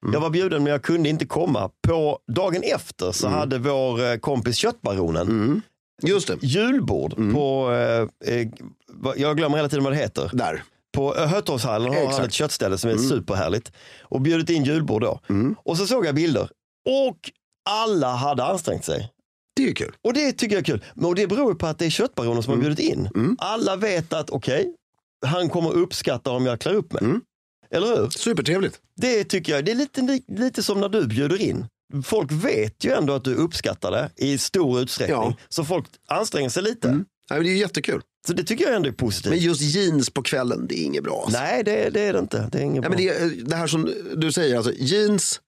[SPEAKER 1] Mm.
[SPEAKER 2] Jag var bjuden men jag kunde inte komma. På dagen efter så
[SPEAKER 1] Mm.
[SPEAKER 2] hade vår eh, kompis Köttbaronen
[SPEAKER 1] just det.
[SPEAKER 2] julbord
[SPEAKER 1] Mm.
[SPEAKER 2] på, eh, eh, vad- jag glömmer hela tiden vad det heter.
[SPEAKER 1] Där.
[SPEAKER 2] På eh, Hötorgshallen har han
[SPEAKER 1] Exakt. Mm.
[SPEAKER 2] ett köttställe som är superhärligt. Och bjudit in julbord då. Och så såg jag bilder. Och alla hade ansträngt sig.
[SPEAKER 1] Det är ju kul.
[SPEAKER 2] Och det tycker jag är kul. Men och det beror ju på att det är köttbaroner
[SPEAKER 1] Mm.
[SPEAKER 2] som har bjudit in. Alla vet att okej, han kommer uppskatta om jag klär upp mig.
[SPEAKER 1] Mm.
[SPEAKER 2] Eller hur?
[SPEAKER 1] Supertrevligt.
[SPEAKER 2] Det tycker jag, det är lite, li- lite som när du bjuder in. Folk vet ju ändå att du uppskattar det i stor utsträckning.
[SPEAKER 1] Ja.
[SPEAKER 2] Så folk anstränger sig lite.
[SPEAKER 1] Nej, men det är ju jättekul.
[SPEAKER 5] Så det tycker jag ändå är positivt.
[SPEAKER 1] Men just jeans på kvällen, det är inget bra. Alltså.
[SPEAKER 5] Typ. Nej, det, det är det inte. Det är inget
[SPEAKER 1] Nej,
[SPEAKER 5] bra.
[SPEAKER 1] men det, är- det här som du säger, alltså, jeans,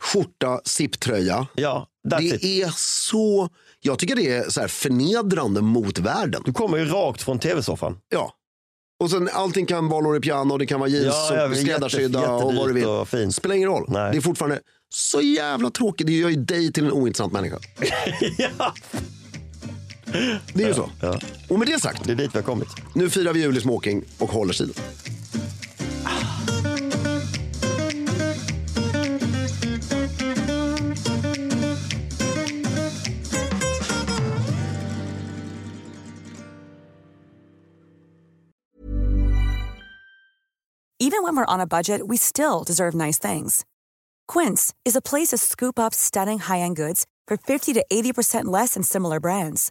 [SPEAKER 1] skjorta, sipptröja.
[SPEAKER 5] Ja, that's
[SPEAKER 1] Det
[SPEAKER 5] it.
[SPEAKER 1] är så, jag tycker det är så här förnedrande mot världen.
[SPEAKER 5] Du kommer ju rakt från tv-soffan.
[SPEAKER 1] Ja. Och sen allting kan vara Lori Piana och det kan vara jeans
[SPEAKER 5] Ja, ja,
[SPEAKER 1] och
[SPEAKER 5] jätte-
[SPEAKER 1] skräddarsydda och vad du
[SPEAKER 5] jättedyrt
[SPEAKER 1] vill.
[SPEAKER 5] och fint.
[SPEAKER 1] Spelar ingen roll.
[SPEAKER 5] Nej.
[SPEAKER 1] Det är fortfarande så jävla tråkigt. Det gör ju dig till en ointressant människa.
[SPEAKER 5] [laughs] ja,
[SPEAKER 1] Det är ju så.
[SPEAKER 5] ja.
[SPEAKER 1] Och med det sagt,
[SPEAKER 5] det är dit vi har kommit.
[SPEAKER 1] nu firar vi jul i smoking och håller stilen.
[SPEAKER 4] Even when we're on a budget, we still deserve nice things. Quince is a place to scoop up stunning high-end goods for 50 to 80% less than similar brands.